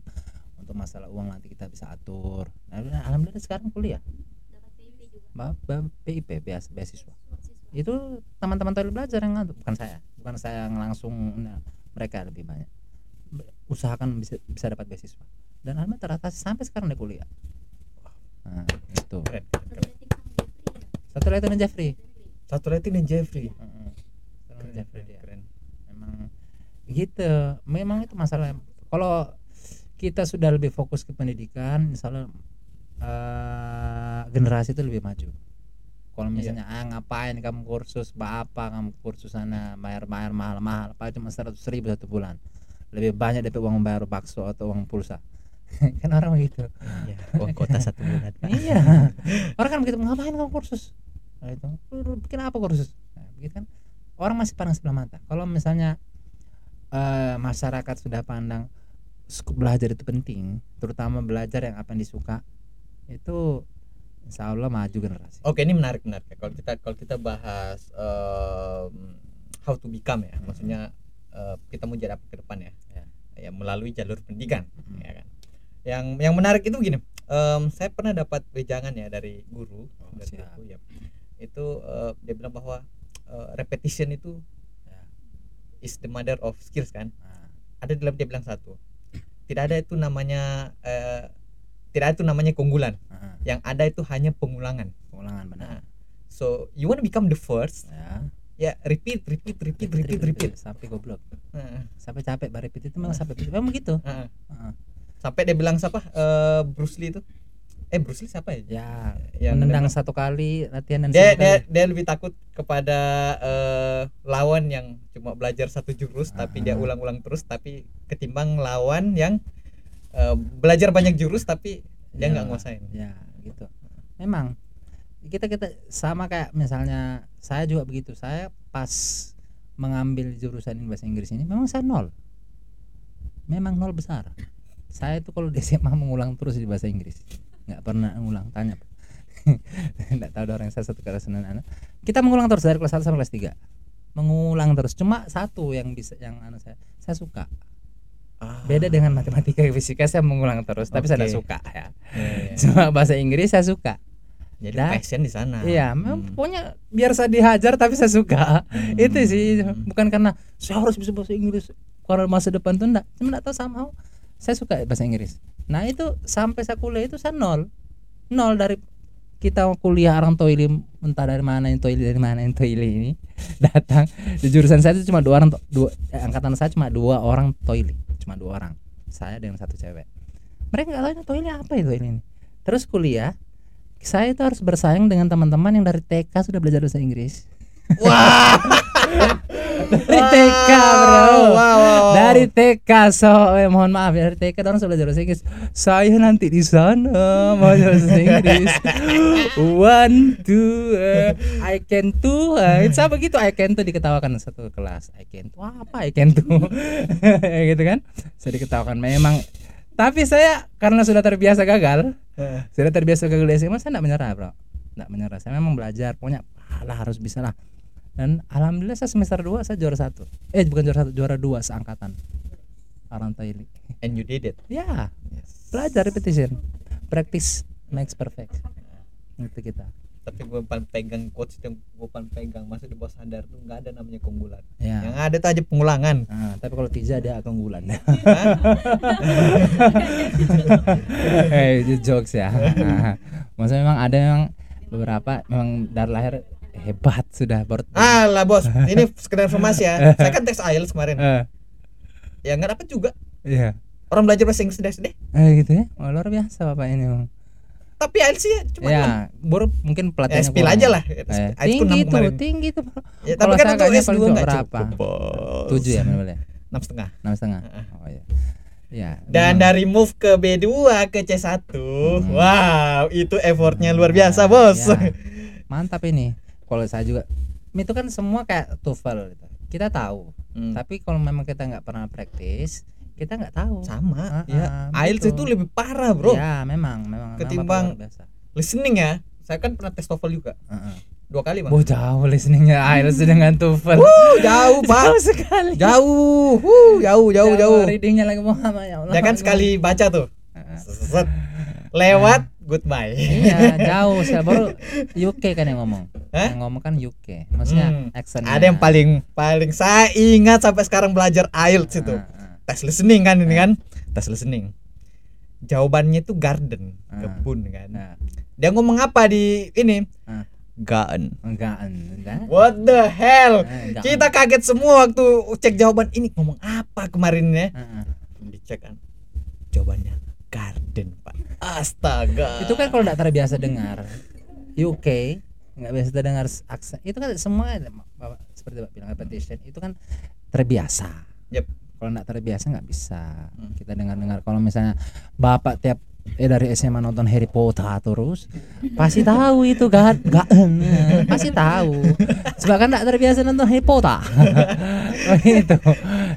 untuk masalah uang nanti kita bisa atur nah, alhamdulillah sekarang kuliah Ba- ba- PIP beas- beasiswa itu teman-teman toilet belajar yang ngatur bukan saya bukan saya yang langsung nah, mereka lebih banyak Be- usahakan bisa bisa dapat beasiswa dan alhamdulillah teratasi sampai sekarang udah kuliah nah, itu
Keren, keren, keren.
satu letternya Jeffrey Hmm.
satu rating dan Jeffrey
Heeh. Satu
Keren,
letternya Jeffrey
keren,
dia
keren.
memang gitu memang itu masalah kalau kita sudah lebih fokus ke pendidikan misalnya eh generasi itu lebih maju kalau
Iya.
misalnya ah ngapain kamu kursus bah apa kamu kursus sana bayar bayar mahal mahal apa cuma seratus ribu satu bulan lebih banyak dari uang bayar bakso atau uang pulsa (laughs) kan orang begitu (laughs)
Iya,
Oh,
uang kota satu bulan (laughs) Pak.
iya orang kan begitu ngapain kamu kursus nah, itu "Lu- lu bikin apa kursus nah, begitu kan orang masih pandang sebelah mata kalau misalnya eh, masyarakat sudah pandang sku- belajar itu penting terutama belajar yang apa yang disuka itu insya Allah maju generasi
oke ini menarik menarik ya. kalau kita kalau kita bahas em, how to become
Hmm.
ya maksudnya eh, kita mau jadi apa ke depan ya
Iya.
ya melalui jalur pendidikan ya kan yang yang menarik itu gini em, saya pernah dapat wejangan ya dari guru
Oh,
dari
siap.
guru, ya. itu eh, dia bilang bahwa eh, repetition itu
Ya.
is the mother of skills kan
Nah,
ada dalam dia bilang satu tidak ada itu namanya eh, tidak ada itu namanya keunggulan
ah,
yang ada itu hanya pengulangan
pengulangan benar
so you want to become the first
ya
ya repeat repeat repeat repeat repeat
sampai goblok
Heeh,
sampai capek bare repeat itu memang sampai memang gitu
heeh.
Heeh.
sampai dia bilang siapa Eh, Bruce Lee itu eh Bruce Lee siapa ya
ya
yang
menendang satu kali latihan dan
dia,
satu
dia,
kali.
dia lebih takut kepada eh, lawan yang cuma belajar satu jurus tapi dia
Aha.
ulang-ulang terus tapi ketimbang lawan yang eh, belajar banyak jurus tapi dia
Ya.
nggak nguasain
ya gitu memang kita kita sama kayak misalnya saya juga begitu saya pas mengambil jurusan bahasa Inggris ini memang saya nol memang nol besar saya itu kalau di SMA mengulang terus di bahasa Inggris nggak pernah ngulang tanya (laughs) nggak tahu ada orang yang saya satu kelas dengan anak kita mengulang terus dari kelas 1 sampai kelas 3 mengulang terus cuma satu yang bisa yang anu saya saya suka
Ah.
beda dengan matematika fisika saya mengulang terus tapi saya nggak
Oke.
suka ya
Iya, iya.
cuma bahasa Inggris saya suka
jadi
Dah.
passion di sana Hmm.
iya memang pokoknya biar saya dihajar tapi saya suka itu sih
Eh,
bukan karena saya harus bisa bahasa Inggris karena masa depan tuh enggak cuma enggak tahu somehow saya suka bahasa Inggris nah itu sampai saya kuliah itu saya nol nol dari kita kuliah orang toili entah dari mana yang toili dari mana yang toili ini (laughs) datang di jurusan saya itu cuma dua orang to- dua eh, angkatan saya cuma dua orang toili cuma dua orang saya dengan satu cewek mereka nggak tahu ini toili apa itu toili ini terus kuliah saya itu harus bersaing dengan teman-teman yang dari TK sudah belajar bahasa Inggris
wah
dari TK bro
Wow, wow, wow.
dari TK so eh, mohon maaf ya dari TK orang sudah belajar bahasa Inggris saya nanti di sana mau belajar bahasa Inggris one two eh, I can two eh, it's apa gitu I can two diketawakan satu kelas I can two apa I can two (laughs) gitu kan saya diketawakan memang tapi saya karena sudah terbiasa gagal
Eh,
sudah terbiasa gagal di SMA saya tidak menyerah bro tidak menyerah saya memang belajar pokoknya lah harus bisa lah dan alhamdulillah saya semester 2 saya juara satu eh bukan juara satu juara dua seangkatan orang Thailand
and you did it
ya belajar repetition practice makes perfect itu kita
tapi gue paling pegang coach itu yang gue paling pegang masuk di bawah sadar tuh nggak ada namanya keunggulan yang
ya
ada tuh aja pengulangan kan?
Nah, tapi kalau tidak dia akan bulan (laughs)
Hah?
Ah. eh itu jokes ya maksudnya memang ada memang beberapa memang dari lahir hebat sudah baru
Ah lah bos, ini sekedar informasi ya. Saya kan tes IELTS kemarin.
Eh,
Ya nggak dapat juga.
iya
Orang belajar bahasa Inggris sedih-sedih.
eh, gitu ya oh, luar biasa bapak ini Bang.
Tapi IELTS ya cuma enam.
ya baru mungkin
ya,
pelatihannya
spill
kurang.
aja lah.
Eh,
IELTS ku enam
tinggi tuh
kemarin.
tinggi tuh Pak.
Ya, tapi
Kalau saya
kan untuk
kayaknya
S2
paling
nggak
berapa?
cukup. bos.
tujuh ya mana boleh
Enam setengah.
enam
(laughs)
setengah
Heeh.
oh iya ya memang.
Dan dari move ke B2 ke C1,
Hmm.
wow, itu effortnya luar biasa, Bos.
Ya, mantap ini kalau saya juga itu kan semua kayak TOEFL gitu. kita tahu
(laughs) Hmm.
tapi kalau memang kita nggak pernah praktis kita nggak tahu Ah,
Sama, ya.
ah,
IELTS
betul.
itu lebih parah, Bro.
ya memang memang memang
Ketimbang-
luar biasa
Listening ya. Saya kan pernah tes TOEFL juga.
Heeh.
Dua kali, Bang.
Wah, jauh listeningnya
(laughs)
IELTS dengan TOEFL (laughs)
Wuh, jauh, Bang.
jauh sekali
Jauh. Wuh, jauh, jauh, jauh.
readingnya lagi Muhammad ya Allah
Ya kan
(laughs)
sekali baca tuh.
Heeh.
Set. Lewat, goodbye.
iya jauh saya baru UK kan yang ngomong
Hah?
yang ngomong kan UK maksudnya
Hmm.
accent
(laughs) Ada yang paling paling saya ingat sampai sekarang belajar IELTS itu.
Ah,
tes listening kan
Eh.
ini kan tes listening jawabannya itu garden
Ah.
kebun kan
nah
dia ngomong apa di ini
Ah.
garden
enggak enggak Ah,
what the hell
Enggak.
kita kaget semua waktu cek jawaban ini ngomong apa kemarin ya
Heeh.
dicek kan jawabannya garden pak astaga
itu kan kalau nggak terbiasa dengar UK nggak biasa dengar aksen itu kan semua ada, Bapak- seperti bapak bilang repetition itu kan terbiasa
Yep.
kalau nggak terbiasa nggak bisa
Hmm.
kita dengar dengar kalau misalnya bapak tiap eh dari SMA nonton Harry Potter ah, terus pasti tahu itu gak gak (laughs) pasti tahu sebab kan nggak terbiasa nonton Harry Potter (laughs) oh, gitu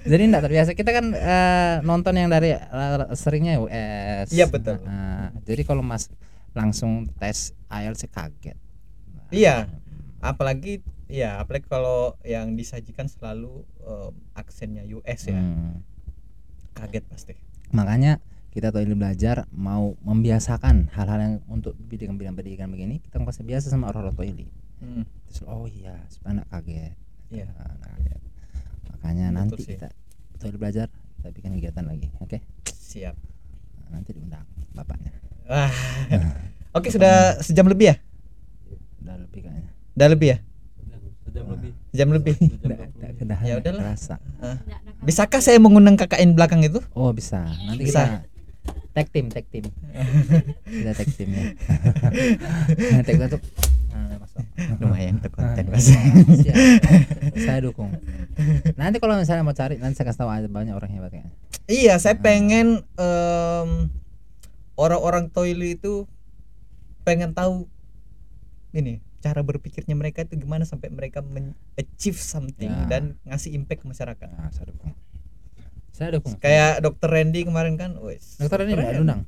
jadi nggak terbiasa kita kan eh, nonton yang dari eh, seringnya US
Iya, betul.
Nah, jadi kalau mas langsung tes IELTS sih kaget Nah,
Iya. apalagi ya apalagi kalau yang disajikan selalu em, aksennya US ya
hmm.
kaget pasti
makanya kita tahu ini belajar mau membiasakan hal-hal yang untuk pendidikan pendidikan begini kita nggak usah biasa sama orang-orang tua ini
Hmm.
terus oh iya supaya nggak kaget
Iya.
Nah, nggak kaget. makanya
Betul
nanti
sih.
kita betul belajar kita bikin kegiatan lagi oke
siap
Nah, nanti diundang bapaknya
Wah.
Eh.
Oke sudah sejam lebih ya?
udah lebih (laughs) kayaknya
Udah lebih ya?
Sejam lebih.
Jam lebih.
Sejam
Nggak-
20.
nggak kedahan,
Ya
nggak
udahlah.
kerasa.
Bisakah saya mengundang KKN belakang itu?
oh bisa nanti
Bisa.
kita tag team tag
(laughs)
team kita tag team ya (laughs) tag satu
Ah,
nah, udah masuk
Lumayan untuk
Ah,
konten
Nah,
mas.
siap. saya dukung nanti kalau misalnya mau cari nanti saya kasih tahu ada banyak orang hebat kayaknya
(laughs) iya, saya pengen em, orang-orang toilet itu pengen tahu ini cara berpikirnya mereka itu gimana sampai mereka men- achieve something
Ya.
dan ngasih impact ke masyarakat.
Nah, saya dukung saya dukung
Ah, Kayak Dokter Randy kemarin kan, wes.
dokter ini udah
keren.
diundang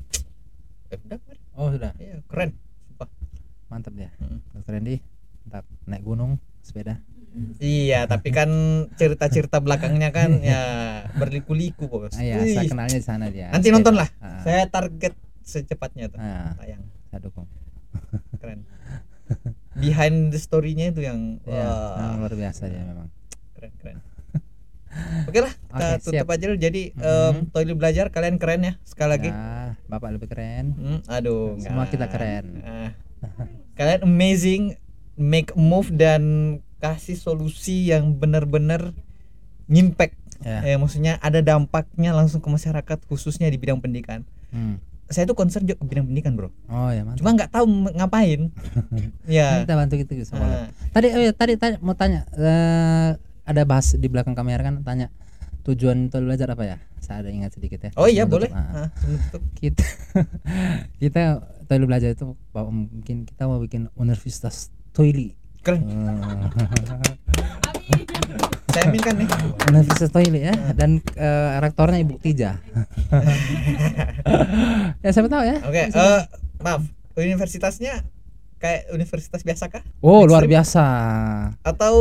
Eh, udah kemarin.
oh sudah
Iya, keren.
mantap dia
Mm.
dokter Randy mantap naik gunung sepeda
Iya, tapi kan cerita-cerita belakangnya
(laughs)
kan ya berliku-liku bos.
ah, ya
Wih.
saya kenalnya di sana dia
Nanti
Sepeda.
nonton lah.
Ah,
Saya target secepatnya tuh
ah,
tayang
saya dukung
keren. Behind the story-nya itu yang
ya memang
wah,
luar biasa dia memang
keren keren. Oke lah,
oke
kita
siap
tutup aja dulu. Jadi em
Mhm.
Toilet belajar kalian keren ya sekali lagi.
Ya, bapak lebih keren
Hmm, aduh,
Semua
enggak.
kita keren.
Ah. kalian amazing, make a move dan kasih solusi yang benar-benar ngimpact.
ya
Eh, maksudnya ada dampaknya langsung ke masyarakat khususnya di bidang pendidikan.
hmm.
Saya tuh concern juga ke bidang pendidikan, Bro.
oh ya mantap
cuma nggak tahu m-
(laughs)
ngapain
Ini
ya
kita bantu gitu sama
ah,
tadi oh iya, tadi tadi mau tanya eh, ada bahas di belakang kamera kan tanya tujuan untuk belajar apa ya saya ada ingat sedikit ya
oh iya
Sebelum
boleh
tutup. Ah, ah.
Ah, sebelum tutup.
kita (laughs) kita toilet belajar itu bahwa mungkin kita mau bikin universitas
(laughs)
toilet
keren saya aminkan nih
universitas toilet ya dan eh, rektornya ibu Tija ya siapa tahu ya
oke eh, maaf universitasnya kayak universitas biasa kah
oh
next
luar
time.
biasa
atau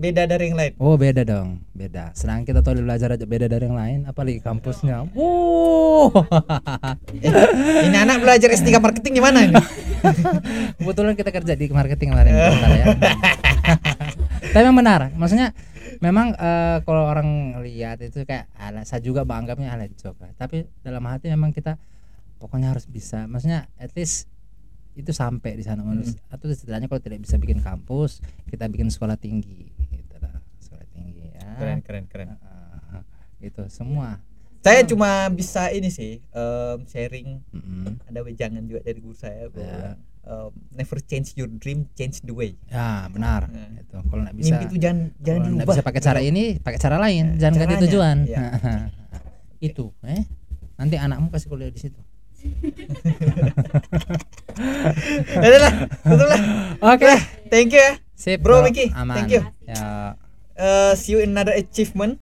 beda dari yang lain
oh beda dong beda sedangkan kita toilet belajar aja beda dari yang lain apalagi kampusnya Oh. (laughs) wow
Eh, ini anak belajar S3 marketing di
(laughs)
mana ini
kebetulan kita kerja di marketing
(laughs)
kemarin sebentar ya. Tapi memang benar, maksudnya memang eh, kalau orang lihat itu kayak ala saya juga menganggapnya ala joke lah. Tapi dalam hati memang kita pokoknya harus bisa. Maksudnya at least itu sampai di
Hmm.
sana manusia atau setidaknya kalau tidak bisa bikin kampus kita bikin sekolah tinggi gitu lah sekolah tinggi ya
keren keren keren
Heeh. gitu semua
saya cuma bisa ini sih em, sharing
Mm-mm.
ada wejangan juga dari guru saya gua
Ya.
bilang, em, never change your dream change the way
ya benar
Nah.
itu kalau nggak bisa
mimpi itu jangan
kalau
jangan
nggak
diubah Iya.
bisa pakai cara ini pakai cara lain
Eh,
jangan ganti
caranya.
tujuan
Iya.
(laughs) itu eh nanti anakmu kasih kuliah di situ
(laughs) udah lah tutup lah
oke
Udah, thank you ya
sip
Bro Miki,
aman
thank you.
ya
Eh, see you in another achievement